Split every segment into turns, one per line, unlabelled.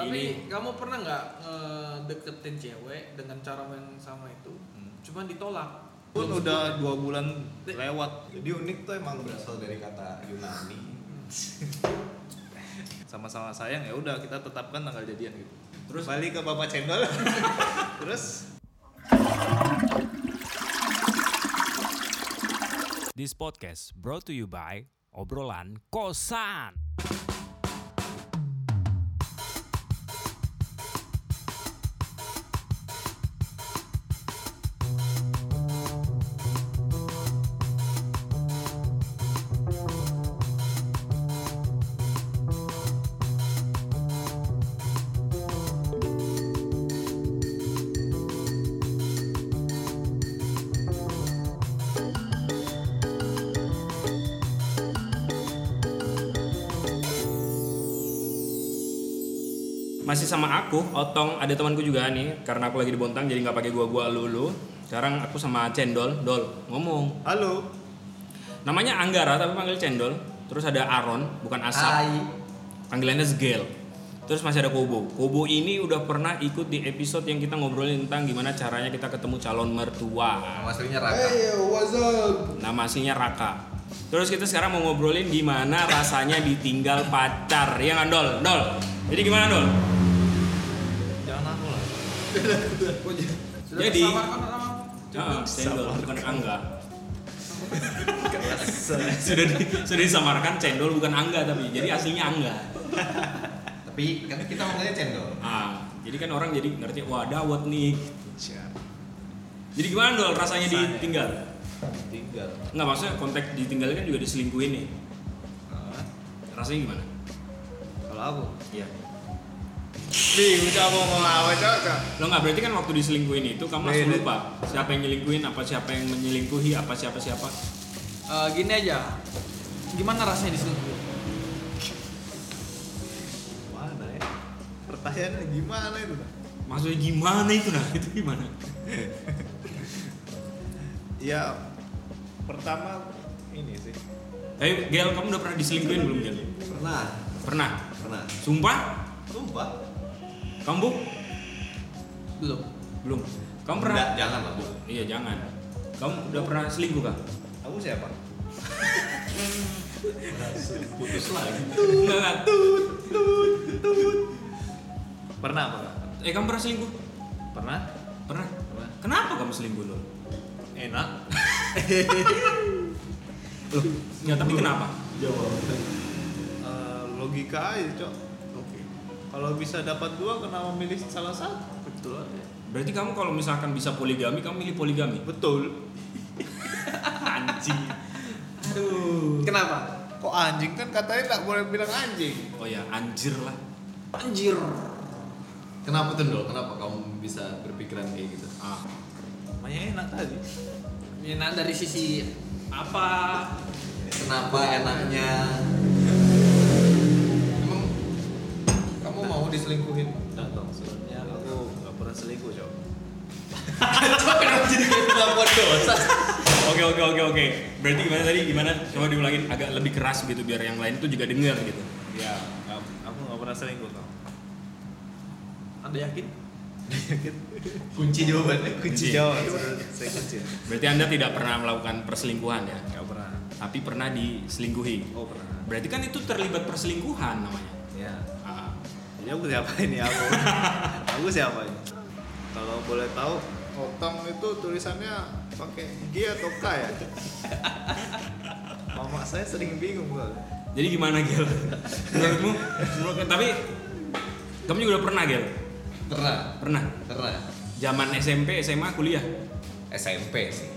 Tapi kamu pernah nggak eh, deketin cewek dengan cara yang sama itu,
Hmm.
cuman ditolak?
pun udah dua bulan lewat
Jadi unik tuh emang berasal dari kata Yunani.
sama-sama sayang ya udah kita tetapkan tanggal jadian gitu
Terus balik ke Bapak Cendol.
terus
This podcast brought to you by Obrolan Kosan.
Masih sama aku, Otong, ada temanku juga nih karena aku lagi di Bontang jadi nggak pakai gua gua lulu. Sekarang aku sama Cendol, Dol, ngomong.
halo
Namanya Anggara tapi panggil Cendol. Terus ada Aron, bukan Asap. Panggilannya Zgel. Terus masih ada Kobo. Kobo ini udah pernah ikut di episode yang kita ngobrolin tentang gimana caranya kita ketemu calon mertua.
Nama aslinya Raka.
Nama aslinya Raka. Terus kita sekarang mau ngobrolin gimana rasanya ditinggal pacar. Ya kan, Dol? Dol. Jadi gimana, Dol?
jangan aku lah
Sudah
Jadi-
tersamarkan sama
Ah, cendol bukan angga. sudah di, sudah disamarkan cendol bukan angga tapi jadi aslinya angga.
Tapi kan kita ngomongnya Cendol.
Ah, jadi kan orang jadi ngerti wah dawet nih. Jadi gimana dol rasanya ditinggal?
Tinggal.
Nggak maksudnya konteks ditinggalnya kan juga diselingkuhin nih. Rasanya gimana?
kalau aku
Iya.
bingung coba mau ngomong apa cocok
Lo nggak berarti kan waktu diselingkuhin itu kamu langsung
Beda.
lupa siapa yang nyelingkuhin, apa siapa yang menyelingkuhi, apa siapa siapa.
Eh, gini aja, gimana rasanya diselingkuhin?
mana ya pertanyaannya gimana itu
Maksudnya gimana itu nah? Itu gimana?
ya pertama ini sih
Eh, Gel, kamu udah pernah diselingkuhin belum, Gel?
Pernah,
Pernah?
pernah.
Sumpah?
Sumpah.
Kamu Bu?
Belum.
belum. Kamu pernah?
Enggak, jangan lah, Bu.
Iya, jangan. Kamu udah pernah selingkuh kah?
aku siapa
Putus lagi.
Enggak, enggak.
pernah apa
Eh, kamu pernah selingkuh?
pernah
Pernah.
Pernah.
Kenapa kamu selingkuh lo?
enak
Loh, ya tapi kenapa?
Eh, logika aja cok
Oke.
kalau bisa dapat dua kenapa milih salah satu
Betul aja.
Berarti kamu kalau misalkan bisa poligami, kamu milih poligami.
betul
Anjing. Aduh.
Kenapa?
kok anjing kan katanya nggak boleh bilang anjing
Oh ya, anjir lah.
Anjir.
Kenapa tuh, Dol? Kenapa kamu bisa berpikiran kayak gitu?
Ah,
namanya enak tadi
Enak dari sisi apa?
Kenapa enaknya? Emang kamu mau diselingkuhin?
Enggak dong, sebenarnya aku nggak pernah selingkuh, Cok.
Kenapa jadi kayak pengakuan dosa?
Oke oke oke oke. Berarti gimana tadi? Gimana? Coba diulangin agak lebih keras gitu biar yang lain tuh juga denger gitu.
Iya, nggak- aku nggak pernah selingkuh, Cok.
Anda yakin?
Kunci jawabannya.
Kunci jawab, saya kunci.
Berarti Anda tidak pernah melakukan perselingkuhan ya,
Nggak pernah.
tapi pernah diselingkuhi.
Oh, pernah.
Berarti kan itu terlibat perselingkuhan namanya.
Ya.
Ah,
Jadi aku siapa ini aku? aku siapa ini? Kalau boleh tahu, otong Oh, itu tulisannya pakai G atau K ya? Mama saya sering bingung soalnya.
Jadi gimana Gel? Menurutmu? Menurut- tapi kamu juga udah pernah Gel?
Pernah,
Pernah.
pernah.
Zaman SMP, SMA, kuliah.
SMP sih.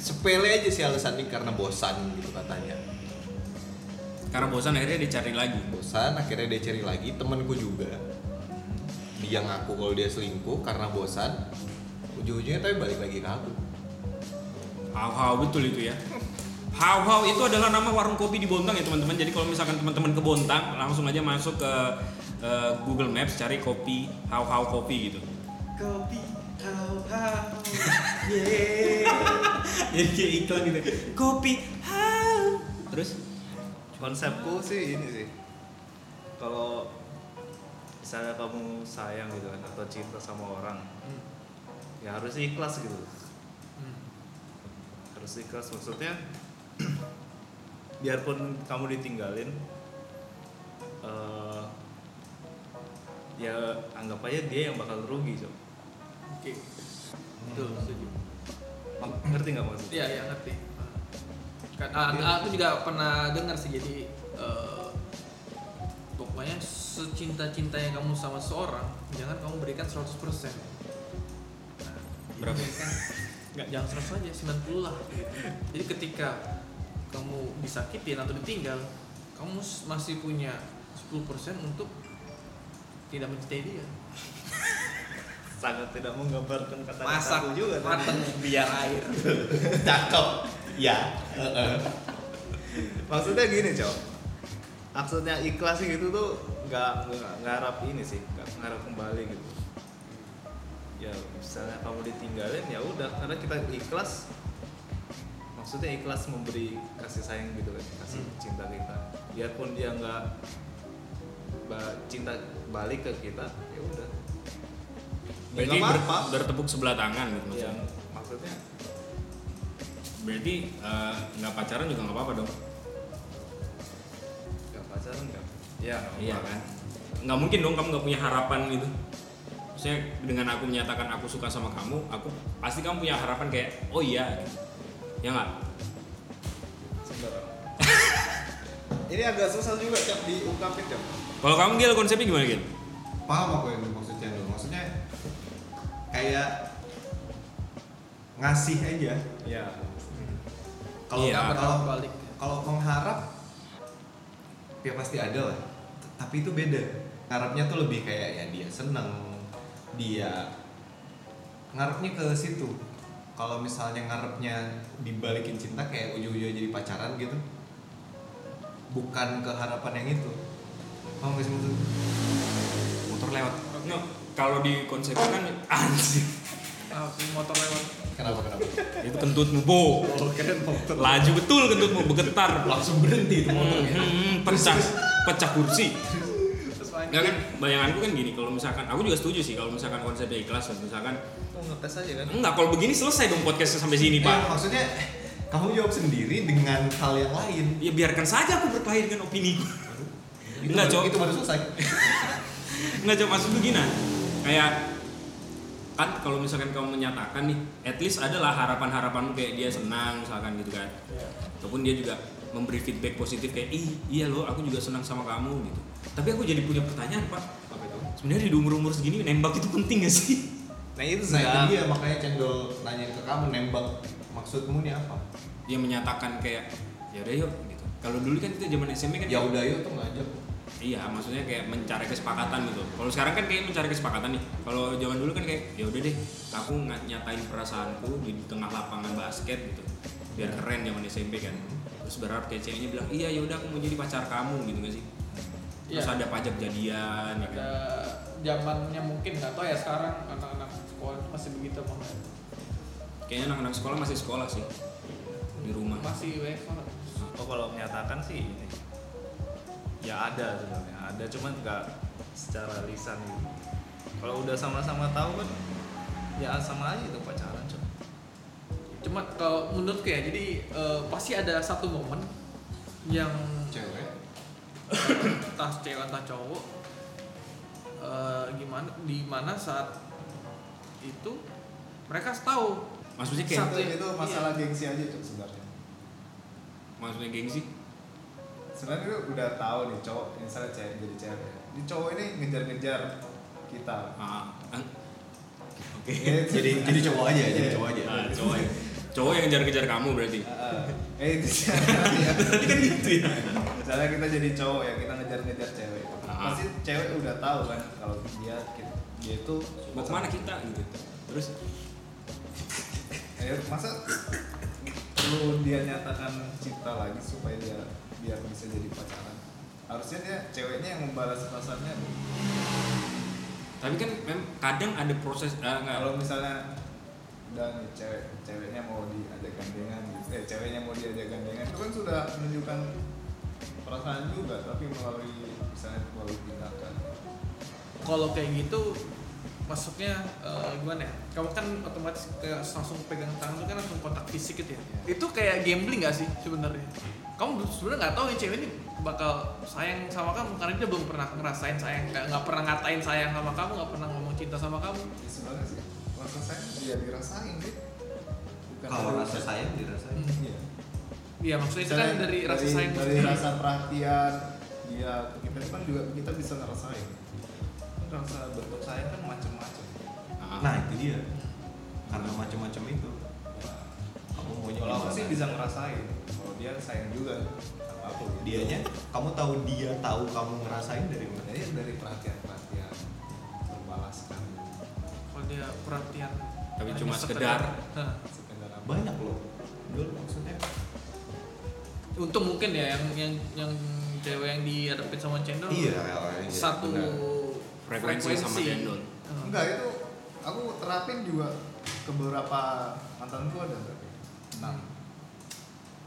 Sepele aja sih alasannya karena bosan gitu katanya.
Karena bosan akhirnya dicari lagi.
Bosan akhirnya dia cari lagi temanku juga. Dia ngaku kalau dia selingkuh karena bosan. Ujung-ujungnya tapi balik lagi ke aku.
How how betul itu ya. How how itu adalah nama warung kopi di Bontang ya teman-teman. Jadi kalau misalkan teman-teman ke Bontang langsung aja masuk ke eh, Google Maps cari kopi how how kopi gitu.
Kopi kau kau.
Jadi kayak iklan gitu. Kopi how. Terus
Konsepku sih ini sih. Kalau misalnya kamu sayang gitu kan atau cinta sama orang ya harus ikhlas gitu
Hmm.
harus ikhlas maksudnya biarpun kamu ditinggalin eh, ya anggap aja dia yang bakal rugi Sob.
Oke.
Hmm.
Betul, setuju.
Mak- ngerti nggak maksudnya
Iya, iya ngerti. Kan ah, aku juga pernah dengar sih jadi eh, pokoknya secinta-cintanya kamu sama seorang, jangan kamu berikan 100%. Nah,
Berapa?
ini Kan, nggak jangan 100 aja, 90 lah. gitu. Jadi ketika kamu disakitin atau ditinggal, kamu s- masih punya 10% untuk tidak mencintai dia.
sangat tidak menggambarkan kata
Masak
aku juga kan. Nah, tadi.
mateng biar air.
Cakep. Ya.
maksudnya gini cok maksudnya ikhlas sih gitu tuh nggak nggak ngarap ini sih nggak ngarap kembali gitu ya misalnya kamu ditinggalin ya udah karena kita ikhlas maksudnya ikhlas memberi kasih sayang gitu kan kasih cinta kita biarpun dia nggak ba- cinta balik ke kita ya udah Ya
Berarti
nggak
ber-
apa-apa.
bertepuk sebelah tangan gitu
yang
maksudnya.
maksudnya
Berarti eh, nggak pacaran juga nggak apa-apa dong.
nggak pacaran nggak ya nggak
Iya
apa-apa.
kan? Nggak mungkin dong kamu nggak punya harapan gitu. Maksudnya dengan aku menyatakan aku suka sama kamu, aku pasti kamu punya harapan kayak oh iya, gitu. ya nggak?
Sebentar. ini agak susah juga cok diungkapin cok
Kalau kamu gil konsepnya gimana gil?
paham aku yang maksud cendol maksudnya kayak ngasih aja
ya
kalau
Iya.
kalau
Berharap balik.
kalau mengharap ya pasti ada lah T- tapi itu beda harapnya tuh lebih kayak ya dia seneng dia ngarepnya ke situ kalau misalnya ngarepnya dibalikin cinta kayak ujung-ujungnya jadi pacaran gitu bukan ke harapan yang itu paham gak sih maksud motor lewat
No, kalau di konsepnya kan anjir.
Ah, motor lewat.
kenapa kenapa
Itu kentutmu, Bo. Laju betul kentutmu, bergetar.
langsung berhenti itu ya. motornya
Hmm, pecah, pecah kursi.
Terus main.
Enggak kan? Bayanganku kan gini, kalau misalkan aku juga setuju sih kalau misalkan konsepnya ikhlas, misalkan
mau ngetes aja kan
enggak kalau begini selesai dong podcastnya sampai sini, Pak.
Ya, maksudnya kamu jawab sendiri dengan hal yang lain.
ya biarkan saja aku berkelahi dengan opini gue
Itu
Enggak,
baru-
Cok.
Itu baru selesai.
nggak cuma maksud gue gini Nah. kayak kan kalau misalkan kamu menyatakan nih at least adalah harapan harapanmu kayak dia senang misalkan gitu kan ataupun dia juga memberi feedback positif kayak ih iya loh aku juga senang sama kamu gitu tapi aku jadi punya pertanyaan pak
Apa itu?
sebenarnya di umur umur segini nembak itu penting gak sih
nah
Nah,
itu
itu
saya
dia makanya cendol nanyain ke kamu nembak maksudmu nih apa?
dia menyatakan kayak ya udah yuk gitu kalau dulu kan kita zaman SMP kan
Ya udah yuk tuh ngajak.
Iya, maksudnya kayak mencari kesepakatan gitu. Kalau sekarang kan kayak mencari kesepakatan nih. Kalau zaman dulu kan kayak ya udah deh, aku nga- nyatain perasaanku di tengah lapangan basket gitu. Biar keren zaman SMP kan. Terus berharap kayak ceweknya bilang, "Iya, ya udah aku mau jadi pacar kamu" gitu gak sih? Terus
Iya.
ada pajak jadian ya kan.
ada zamannya mungkin nggak tahu ya sekarang anak-anak sekolah itu masih begitu apa nggak?
Kayaknya anak-anak sekolah masih sekolah sih. Di rumah.
masih ya, WFH
oh, kalau menyatakan sih ini ya ada sebenarnya ada cuman nggak secara lisan gitu kalau udah sama-sama tahu kan ya sama aja itu pacaran cok
cuma kalau menurutku ya jadi eh, pasti ada satu momen yang
Cewek.
entah cewek entah cowok eh, gimana di mana saat itu mereka tahu
Maksudnya kayak
Satu. Itu- itu
iya.
masalah
gengsi aja cok sebenarnya
maksudnya gengsi.
sebenarnya lu udah tahu nih cowok misalnya cewek jadi cewek ini cowok ini ngejar-ngejar kita
Ah, ah. Oke.
Iya, jadi jadi cowok aja, jadi
Iya.
cowok aja.
Nah, cowok ya. Cowok yang ngejar-ngejar kamu berarti.
eh itu
Berarti kan gitu ya.
misalnya kita jadi cowok ya kita ngejar-ngejar cewek
Ah.
pasti cewek udah tahu kan kalau dia dia itu
Mau kemana kita gitu. Terus
eh, masa lu dia nyatakan cinta lagi supaya dia biar bisa jadi pacaran harusnya dia ceweknya yang membalas perasaannya
tapi kan mem kadang ada proses eh, nggak
kalau misalnya udah nih cewek ceweknya mau diajak gandengan gitu eh ceweknya mau diajak gandengan itu kan sudah menunjukkan perasaan juga tapi melalui misalnya melalui tindakan
kalau kayak gitu masuknya eh, gimana ya? Kamu kan otomatis kayak langsung pegang tangan tuh kan langsung kontak fisik gitu ya. Itu kayak gambling gak sih sebenarnya? Kamu sebenarnya nggak tahu ya cewek ini bakal sayang sama kamu karena dia belum pernah ngerasain sayang, nggak nggak pernah ngatain sayang sama kamu, nggak pernah ngomong cinta sama kamu.
Ya, sebenarnya sih rasa sayang ya dirasain sih. Bukan
Kalau
dari-
rasa sayang dirasain.
Hmm.
Iya.
Iya maksudnya itu kan
Misalnya
dari rasa
dari-
sayang
dari
sendiri.
rasa perhatian dia ke kita itu kan juga kita bisa ngerasain. Kan Rasa bentuk sayang kan macam-macam.
Ah,
Nah itu dia. Karena macam-macam itu. Kamu mau
Iya.
Kalau aku sih bisa ngerasain. Kalau dia sayang juga sama aku. gitu.
Dianya, kamu tahu dia tahu kamu ngerasain dari mana?
Jadi dari perhatian perhatian terbalaskan
Kalau dia perhatian
Tapi
hanya
cuma sekedar.
Hah.
sekedar apa?
kan. Banyak loh. Dul maksudnya.
Untung mungkin ya yang yang yang cewek yang dihadapin sama cendol
Iya. iya,
satu
benar.
Frekuensi sama cendol.
Hah.
Enggak itu aku terapin juga ke beberapa mantanku ada berarti enam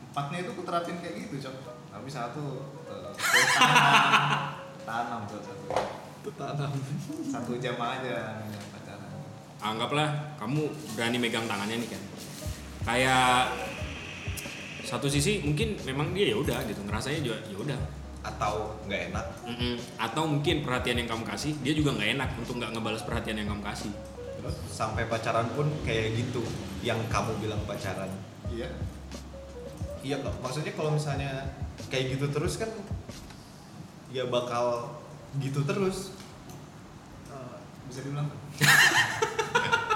empatnya itu aku terapin kayak gitu cok tapi satu eh, tanam tuh satu satu jam aja namanya pacaran
anggaplah kamu berani megang tangannya nih kan kayak satu sisi mungkin memang dia ya udah gitu ngerasanya juga ya udah
Atau nggak enak.
Mm-mm. atau mungkin perhatian yang kamu kasih dia juga nggak enak untuk nggak ngebalas perhatian yang kamu kasih
terus
Sampai pacaran pun kayak gitu. Yang kamu bilang pacaran.
iya
Iya kok. Maksudnya kalau misalnya kayak gitu terus kan, ya bakal gitu terus.
Eh,
bisa dibilang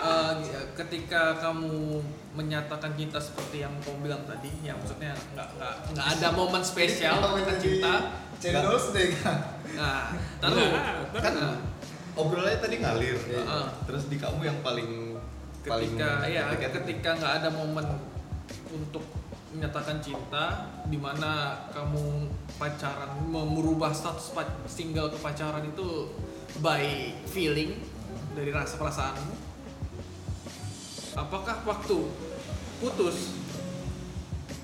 eh, ketika kamu menyatakan cinta seperti yang kamu bilang tadi, ya maksudnya nggak nggak nggak ada momen
Iya.
spesial
Kalau
kita
jadi
cinta.
cendol deh kan
Nah, taruh
Nggak,
kan
kan obrolannya tadi ngalir
Iya.
terus di kamu yang paling paling
ketika ya
dekat.
ketika nggak ada momen untuk menyatakan cinta di mana kamu pacaran mem- merubah status pa- single ke pacaran itu by feeling dari rasa perasaanmu apakah waktu putus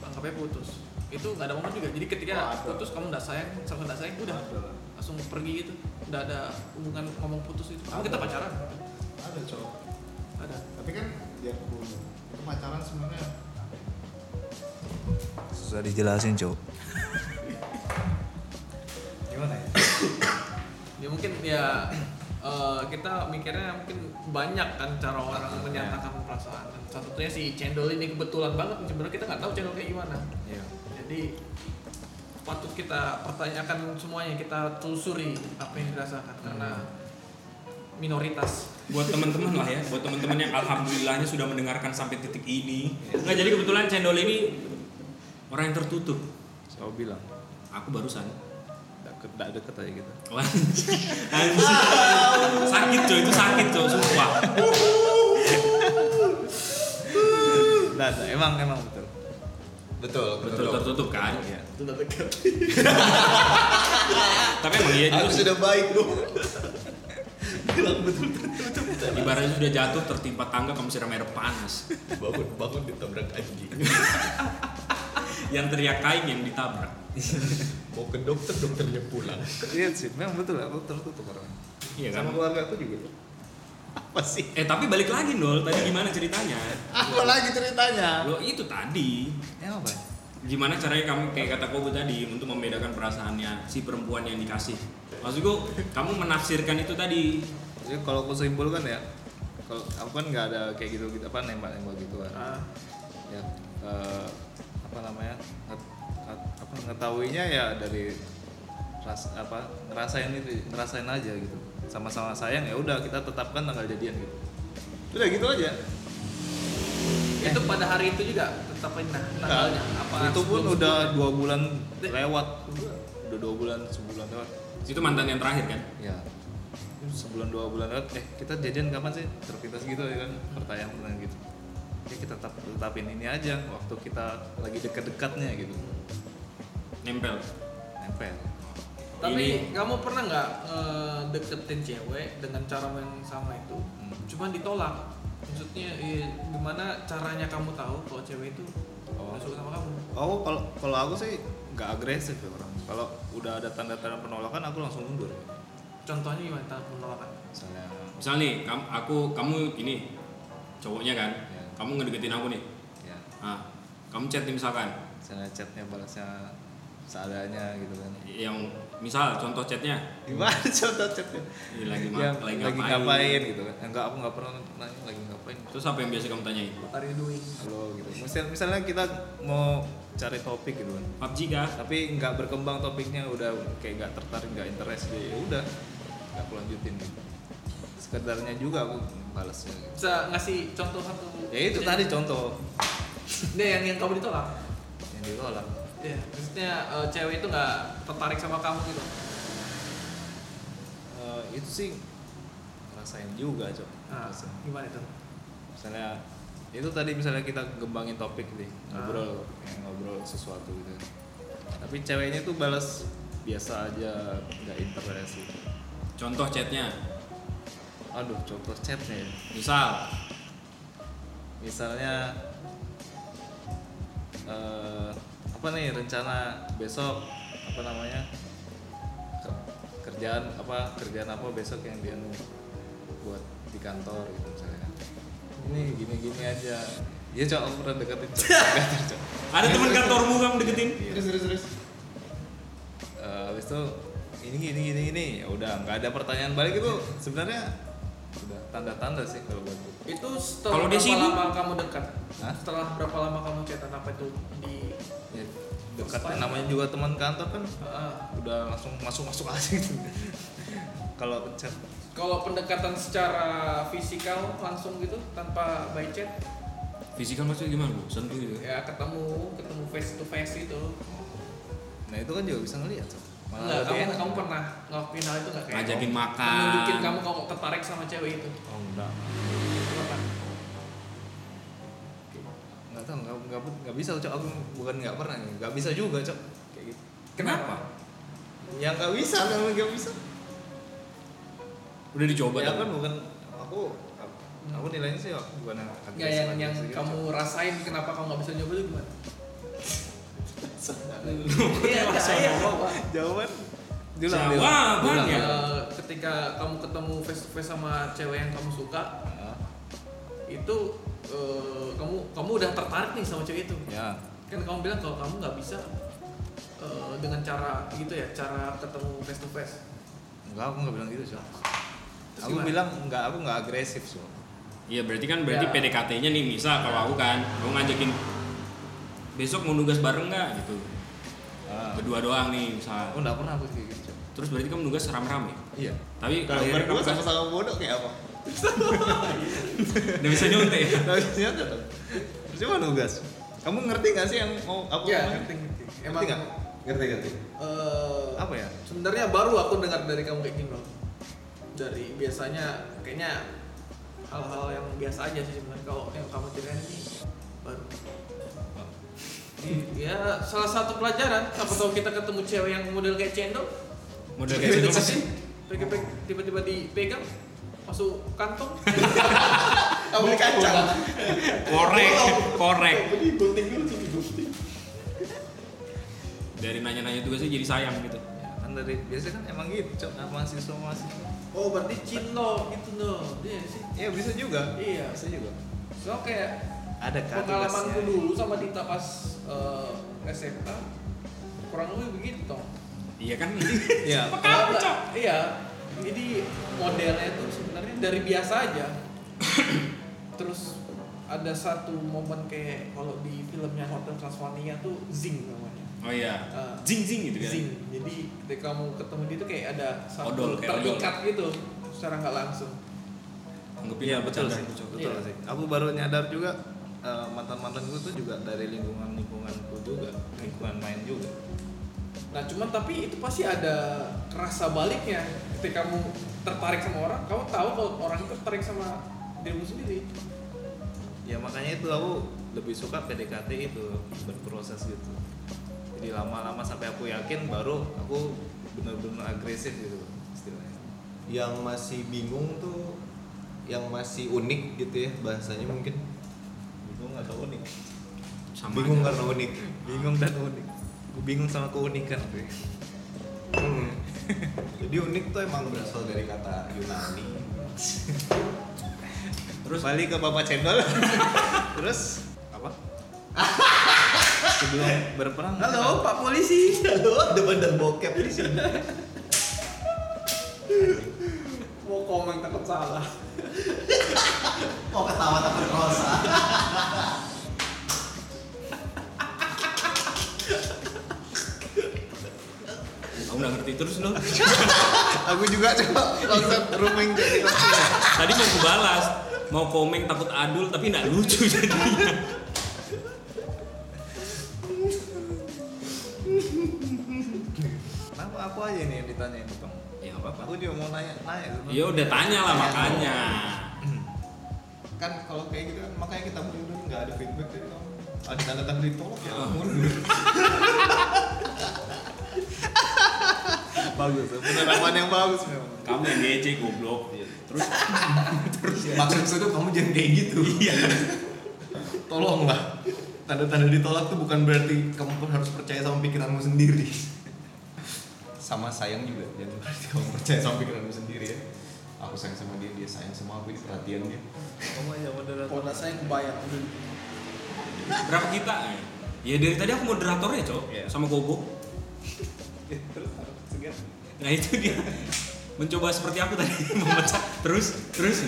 anggapnya putus itu nggak ada momen juga jadi ketika
Oh, ada.
putus kamu nggak sayang sama nggak sayang udah
Ada lah.
langsung pergi gitu nggak ada hubungan ngomong putus itu kamu
Ada.
kita pacaran
ada cowok
ada
tapi kan dia aku itu pacaran sebenarnya
susah dijelasin cowok
gimana ya
ya mungkin ya eh, kita mikirnya mungkin banyak kan cara orang
Iya.
menyatakan perasaan Dan salah satunya si cendol ini kebetulan banget sebenarnya kita nggak tahu cendol kayak gimana
Iya.
jadi patut kita pertanyakan semuanya kita telusuri apa yang dirasakan karena
Iya.
minoritas
buat teman-teman lah ya buat teman-teman yang alhamdulillahnya sudah mendengarkan sampai titik ini nggak jadi kebetulan cendol ini orang yang tertutup
Saya bilang
aku barusan
deket dak deket aja gitu
Anjing. Anjing. sakit coy itu sakit coy sumpah
nah, nah, emang emang betul
betul
betul tertutup kan
iya
tapi emang iya juga
aku
sih.
sudah baik lu bilang betul tertutup
Ibaratnya sudah jatuh tertimpa tangga kamu siram air panas.
bangun bangun ditabrak anjing
Yang teriak kain yang ditabrak.
mau ke dokter dokternya pulang
iya sih memang betul aku tertutup orang
Iya kan?
sama keluarga aku juga
apa sih
Eh tapi balik lagi Nol, tadi gimana ceritanya?
apa lagi ceritanya
Lo itu tadi
emang Ya, apa
gimana caranya kamu kayak kata Kobo tadi untuk membedakan perasaannya si perempuan yang dikasih. Maksudku kamu menafsirkan itu tadi.
Jadi kalau aku simpulkan ya, kalau aku kan nggak ada kayak gitu gitu apa nembak nembak gitu kan.
Ah,
Ya eh, apa namanya? nge- nge- apa ngetahuinya ya dari ras apa ngerasain itu ngerasain aja gitu. Sama-sama sayang ya udah kita tetapkan tanggal jadian gitu. Udah gitu aja.
itu pada hari itu juga tetapin nah tanggalnya apa
itu pun
sebelum-
udah dua bulan
Dek.
lewat. Udah dua bulan sebulan lewat.
Itu mantan yang terakhir kan?
Ya sebulan dua bulan lewat eh kita jadian kapan sih terpintas gitu ya kan pertanyaan pertanyaan gitu ya kita tetap tetapin ini aja waktu kita lagi dekat-dekatnya gitu
Nempel.
nempel
Tapi kamu pernah nggak eh, deketin cewek dengan cara yang sama itu?
Hmm.
Cuman ditolak. Maksudnya eh, gimana caranya kamu tahu kalau cewek itu
Oh.
udah suka sama kamu?
oh kalau kalau aku sih nggak agresif ya orang kalau udah ada tanda-tanda penolakan aku langsung mundur
Contohnya gimana cara penolakan?
misalnya
Misal nih, kam- aku kamu ini cowoknya kan,
Ya.
kamu ngedeketin aku nih.
ya
Nah, kamu chat nih misalkan,
misalnya chatnya balasnya seadanya gitu kan
yang misal contoh chatnya
gimana contoh chatnya
ini lagi, ma-
yang
lagi, ngapain.
gitu kan enggak aku nggak pernah nanya lagi ngapain
Terus apa yang biasa kamu tanyain?
What are you doing?
kalau gitu misalnya, misalnya kita mau cari topik gitu kan
PUBG kah?
tapi nggak berkembang topiknya udah kayak nggak tertarik nggak interest ya udah nggak aku lanjutin gitu sekedarnya juga aku balasnya gitu.
Bisa ngasih contoh satu?
ya itu tadi contoh
Nggak, yang yang kamu ditolak.
yang ditolak
Iya, maksudnya eh, cewek itu nggak tertarik sama kamu gitu.
Eh, itu sih rasain juga cok
Nah,
Rasain.
gimana itu?
misalnya itu tadi misalnya kita gembangin topik nih ngobrol kayak ngobrol sesuatu gitu tapi ceweknya tuh balas biasa aja nggak interest gitu.
Contoh chatnya,
aduh contoh chatnya ya.
misal
misalnya eh, apa nih rencana besok apa namanya Ke- kerjaan apa kerjaan apa besok yang dia nu- buat di kantor gitu misalnya ini gini gini aja iya cok aku pernah deketin cok Deketin, Cok.
ada teman kantormu kamu deketin?
Iya.
Terus terus terus.
Eh, habis itu ini gini gini gini ya udah nggak ada pertanyaan balik itu sebenarnya udah tanda-tanda sih kalau buat gue.
Itu setelah
Kalau dia
berapa
sibuk-
lama kamu dekat?
Hah?
Setelah berapa lama kamu chatan apa itu di
ya, dekat namanya juga teman kantor kan
Heeh.
udah langsung masuk masuk aja gitu kalau chat
kalau pendekatan secara fisikal langsung gitu tanpa by chat
Fisikal maksudnya gimana bu? Sentuh gitu?
ya ketemu ketemu face to face gitu
nah itu kan juga bisa ngeliat Sob.
Enggak,
lebih
kamu
enak.
kamu pernah ngelakuin hal itu nggak kayak
Ngajakin makan.
menunjukin kamu kamu tertarik sama cewek itu
oh enggak
Pernah.
nggak tahu nggak nggak nggak bisa cok aku bukan nggak pernah ya. nggak bisa juga cok kayak gitu
Kenapa?
ya nggak bisa kalau nggak bisa
Udah dicoba
ya
tapi?
kan bukan aku aku nilainya sih aku bukan yang
nggak yang yang kamu rasain kenapa kamu nggak bisa nyoba itu gimana iya nggak, iya
jawaban
Jawaban
Eh,
ya.
ketika kamu ketemu face to face sama cewek yang kamu suka
"Ah,
itu eh, kamu kamu udah tertarik nih sama cewek itu
ya
kan kamu bilang kalau kamu nggak bisa eh, dengan cara gitu ya cara ketemu face to face
enggak aku nggak bilang gitu cok
Terus
aku
gimana?
bilang enggak aku nggak agresif cok
Iya berarti kan berarti
Ya.
PDKT-nya nih misal kalau aku kan, aku ngajakin besok mau nugas bareng nggak gitu,
Ah.
berdua doang nih misal.
aku nggak pernah aku kayak gitu cok
Terus berarti kamu nugas rame-rame.
iya
Tapi
Nah,
kalau
akhirnya
berdua
kamu kan
sama-sama bodoh kayak apa
udah bisa nyontek ya.
Harusnya tetap. Percuma nugas. Kamu ngerti gak sih yang mau aku
Iya,
ngomongin?
ngerti, ngerti.
Ngerti
Emang-
nggak?
ngerti ngerti
Eh,
apa ya?
sebenarnya baru aku dengar dari kamu kayak gini loh dari biasanya kayaknya hal-hal yang biasa aja sih sebenarnya kalau yang kamu ceritain ini baru Ini ya salah satu pelajaran apa tahu kita ketemu cewek yang model kayak cendol
Model kayak gitu pasti.
Pegang- tiba-tiba dipegang masuk kantong
Kamu beli kacang.
Korek, korek. Dari nanya-nanya tuh sih jadi sayang gitu.
Ya, kan dari biasanya kan emang gitu, cok, sama mahasiswa mahasiswa.
oh berarti cinlok gitu loh iya sih
Iya bisa juga.
Iya.
Bisa juga.
so kayak
Ada kan
pengalamanku
tugasnya.
dulu sama Dita pas eh, SMA kurang lebih begitu toh
Iya kan?
Iya.
Kalau nggak- iya jadi modelnya itu sebenarnya dari biasa aja terus ada satu momen kayak kalau di filmnya Hotel Transylvania tuh zing namanya
Oh iya.
Eh,
Jing jing gitu kan.
zing jadi ketika kamu ketemu dia tuh kayak ada satu
Odol, kayak
terikat gitu secara nggak langsung
Anggapin
Iya
aku
betul
bercanda.
sih, cok, betul
Iya.
sih. Aku baru nyadar juga mantan mantan gue tuh juga dari lingkungan lingkunganku juga, lingkungan main juga.
Nah cuman tapi itu pasti ada rasa baliknya ketika kamu tertarik sama orang, kamu tahu kalau orang itu tertarik sama dirimu sendiri.
Ya makanya itu aku lebih suka PDKT itu berproses gitu. Jadi lama-lama sampai aku yakin baru aku benar-benar agresif gitu istilahnya.
yang masih bingung tuh yang masih unik gitu ya bahasanya mungkin
Bingung atau unik?
Sama
bingung kan
aja.
karena unik
Bingung dan unik. Gue bingung sama keunikan gue.
Hmm.
jadi unik tuh emang berasal dari kata Yunani
Terus balik ke Bapak Cendol. Terus apa? Sebelum berperang.
Halo, Pak Polisi.
Iya,
Halo, depan dan bokep di sini.
Mau komen takut salah.
Oh,
Mau ketawa takut rosa.
Aku nggak ngerti terus lu.
Aku juga coba langsung rooming jadi kopinya.
Tadi mau ku balas, mau komen takut adul tapi nggak lucu jadinya.
Kenapa aku aja nih yang ditanyain Bang?
Ya nggak apa-apa.
Aku juga mau nanya nanya sebenarnya.
Ya udah tanya lah makanya.
Kan kalau kayak gitu kan makanya kita mundur nggak ada feedback dari kamu. Ada tanda-tanda ditolak ya
Ah.
mundur. bagus, penerapan yang bagus memang.
Kamu yang ngece goblok. Terus
Iya. Maksud saya tuh kamu jangan kayak gitu. Iya. Tolonglah. Tanda-tanda ditolak tuh bukan berarti kamu pun harus percaya sama pikiranmu sendiri. Sama sayang juga, jangan berarti kamu percaya sama pikiranmu sendiri ya. Aku sayang sama dia, dia sayang sama aku, ini perhatian dia.
Kamu aja ya, moderator.
Kalau saya kebayang.
berapa kita? Ya dari tadi aku moderatornya, Cok.
Iya.
Sama goblok.
Terus harus segera.
Nah itu dia mencoba seperti aku tadi memecah terus terus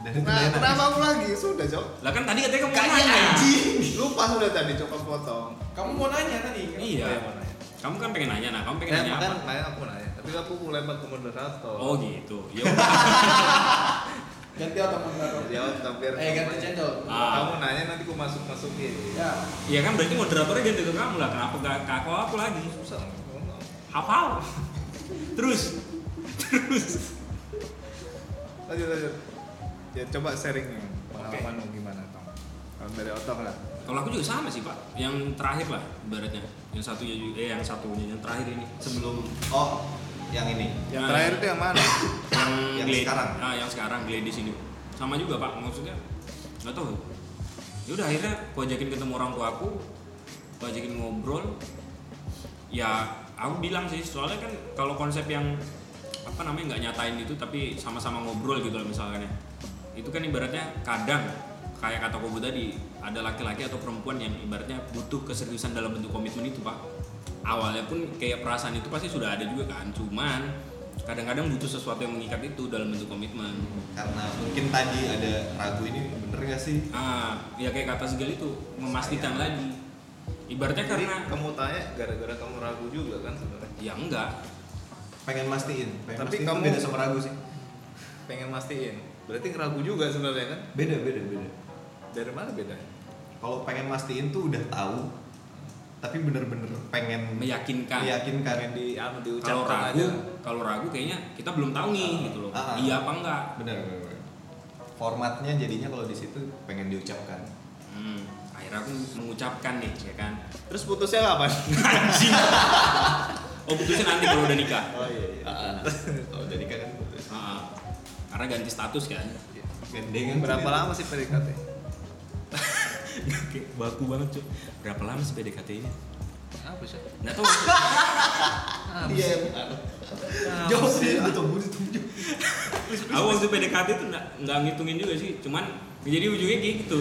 Dan itu
Nah,
dia nangis.
kenapa aku lagi? Sudah, Cok.
lah kan tadi katanya kamu mau
Kayaknya
nanya
anjing.
Lupa sudah tadi, Cok, aku potong.
Kamu mau nanya tadi? kan?
iya
Saya mau nanya.
kamu kan pengen nanya nah kamu pengen
Saya
nanya apa
kan nanya aku nanya, ya? tapi aku mulai ke moderator.
oh gitu ya udah.
Ganti atau moderator?
Jawab tapi
Eh, ganti cendol.
Kamu nanya nanti aku masuk masukin.
Ya.
ya kan berarti moderatornya ganti ke kamu lah kenapa gak ke aku aku lagi
Susah. ngomong.
hafal terus terus
Lanjut lanjut. Ya coba sharing pengalamanmu gimana Tom? Kalau dari otong lah.
kalau aku juga sama sih pak yang terakhir lah ibaratnya yang satu ya juga- eh yang satunya yang terakhir ini sebelum
Oh, yang ini.
Nah,
Yang terakhir itu yang mana?
yang,
Yang
Glade-
sekarang.
ah yang sekarang Gladys ini sama juga pak maksudnya nggak tahu ya udah akhirnya aku ajakin ketemu orang tua aku aku ajakin ngobrol ya aku bilang sih soalnya kan kalau konsep yang apa namanya nggak nyatain itu tapi sama-sama ngobrol gitu lah misalkan ya itu kan ibaratnya kadang kayak kata Kobo tadi ada laki-laki atau perempuan yang ibaratnya butuh keseriusan dalam bentuk komitmen itu pak awalnya pun kayak perasaan itu pasti sudah ada juga kan cuman kadang-kadang butuh sesuatu yang mengikat itu dalam bentuk komitmen
Karena mungkin tadi ada ragu ini bener gak sih?
ah ya kayak kata segala itu memastikan lagi ibaratnya
Jadi
karena
kamu tanya gara-gara kamu ragu juga kan sebenarnya.
ya enggak
Pengen mastiin. Pengen
Tapi
mastiin tuh
kamu-
beda sama ragu sih.
Pengen mastiin. Berarti ngeragu juga sebenarnya kan?
Beda, beda, beda.
Dari mana bedanya?
Kalau pengen mastiin tuh udah tahu. Tapi bener-bener pengen
meyakinkan
meyakinkan.
Pengen di anu
kalau
diucapkan
ragu
aja.
kalau ragu kayaknya kita belum tahu nih gitu loh
Ah, ah.
iya apa enggak
bener bener, bener. formatnya jadinya kalau di situ pengen diucapkan
hmm, akhirnya aku mengucapkan nih ya kan
Terus putusnya kapan?
anjing oh putusnya nanti kalau udah nikah
Oh iya iya.
oh jadi kan putus
Ah, ah. karena ganti status kan
gandengan
Berapa lama sih PDKT?
Kayak baku banget cuy berapa lama sih PDKT ini
Apa sih?
nggak tahu
iya jauh sih betul betul betul
aku waktu PDKT itu nggak nggak ngitungin juga sih cuman jadi ujungnya kayak gitu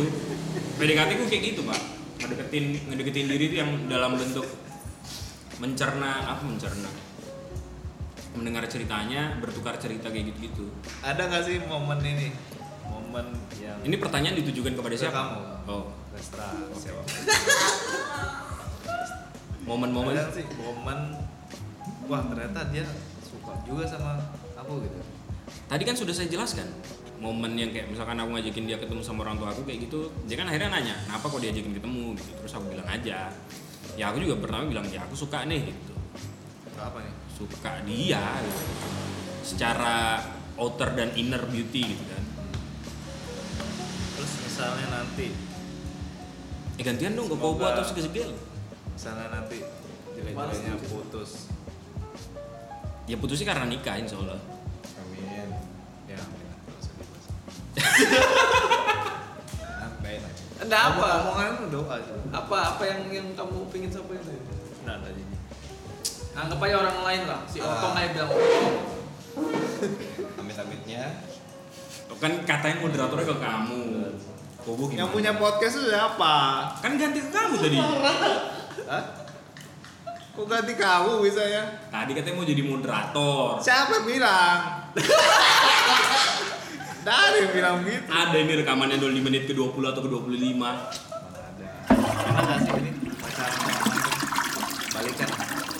PDKT ku kayak gitu pak ngedeketin ngedeketin diri itu yang dalam bentuk mencerna apa mencerna mendengar ceritanya bertukar cerita kayak gitu gitu
Ada nggak sih momen ini? Momen yang
ini pertanyaan ditujukan kepada
Ke
siapa
kamu.
oh
Lestra siapa?
momen-momen
Ada sih momen wah ternyata dia suka juga sama aku gitu.
tadi kan sudah saya jelaskan momen yang kayak misalkan aku ngajakin dia ketemu sama orang tua aku kayak gitu dia kan akhirnya nanya kenapa kok diajakin ketemu gitu terus aku bilang aja ya aku juga pertama bilang ya aku suka nih gitu
Suka apa nih?
suka dia gitu. secara outer dan inner beauty gitu kan
Terus misalnya nanti,
eh gantian dong gak bobo
Semoga-
atau segel-segel
misalnya nanti jelek-jeleknya putus.
ya putusnya karena nikah insya Allah
amin
Ya, amin. Nggak usah dibahas. Nah, baik aja.
Ada apa?
Omong- Omongan lu doa aja.
Apa apa yang yang kamu pingin sampaikan tadi?
Nah, ada jadi.
Anggap aja "Oh, orang lain lah. Si
Ah.
Otong aja bilang Otong.
amit-amitnya
kan katanya moderatornya ke kamu Kobo gimana?
Yang punya podcast itu siapa?
kan ganti ke kamu tadi
Hah? Kok ganti kamu bisa ya?
tadi katanya mau jadi moderator
Siapa bilang? Dari bilang gitu.
ada ini rekamannya dulu di menit ke 20 atau ke 25
Enak gak sih ini? Pacaran sama mantan. Balikan.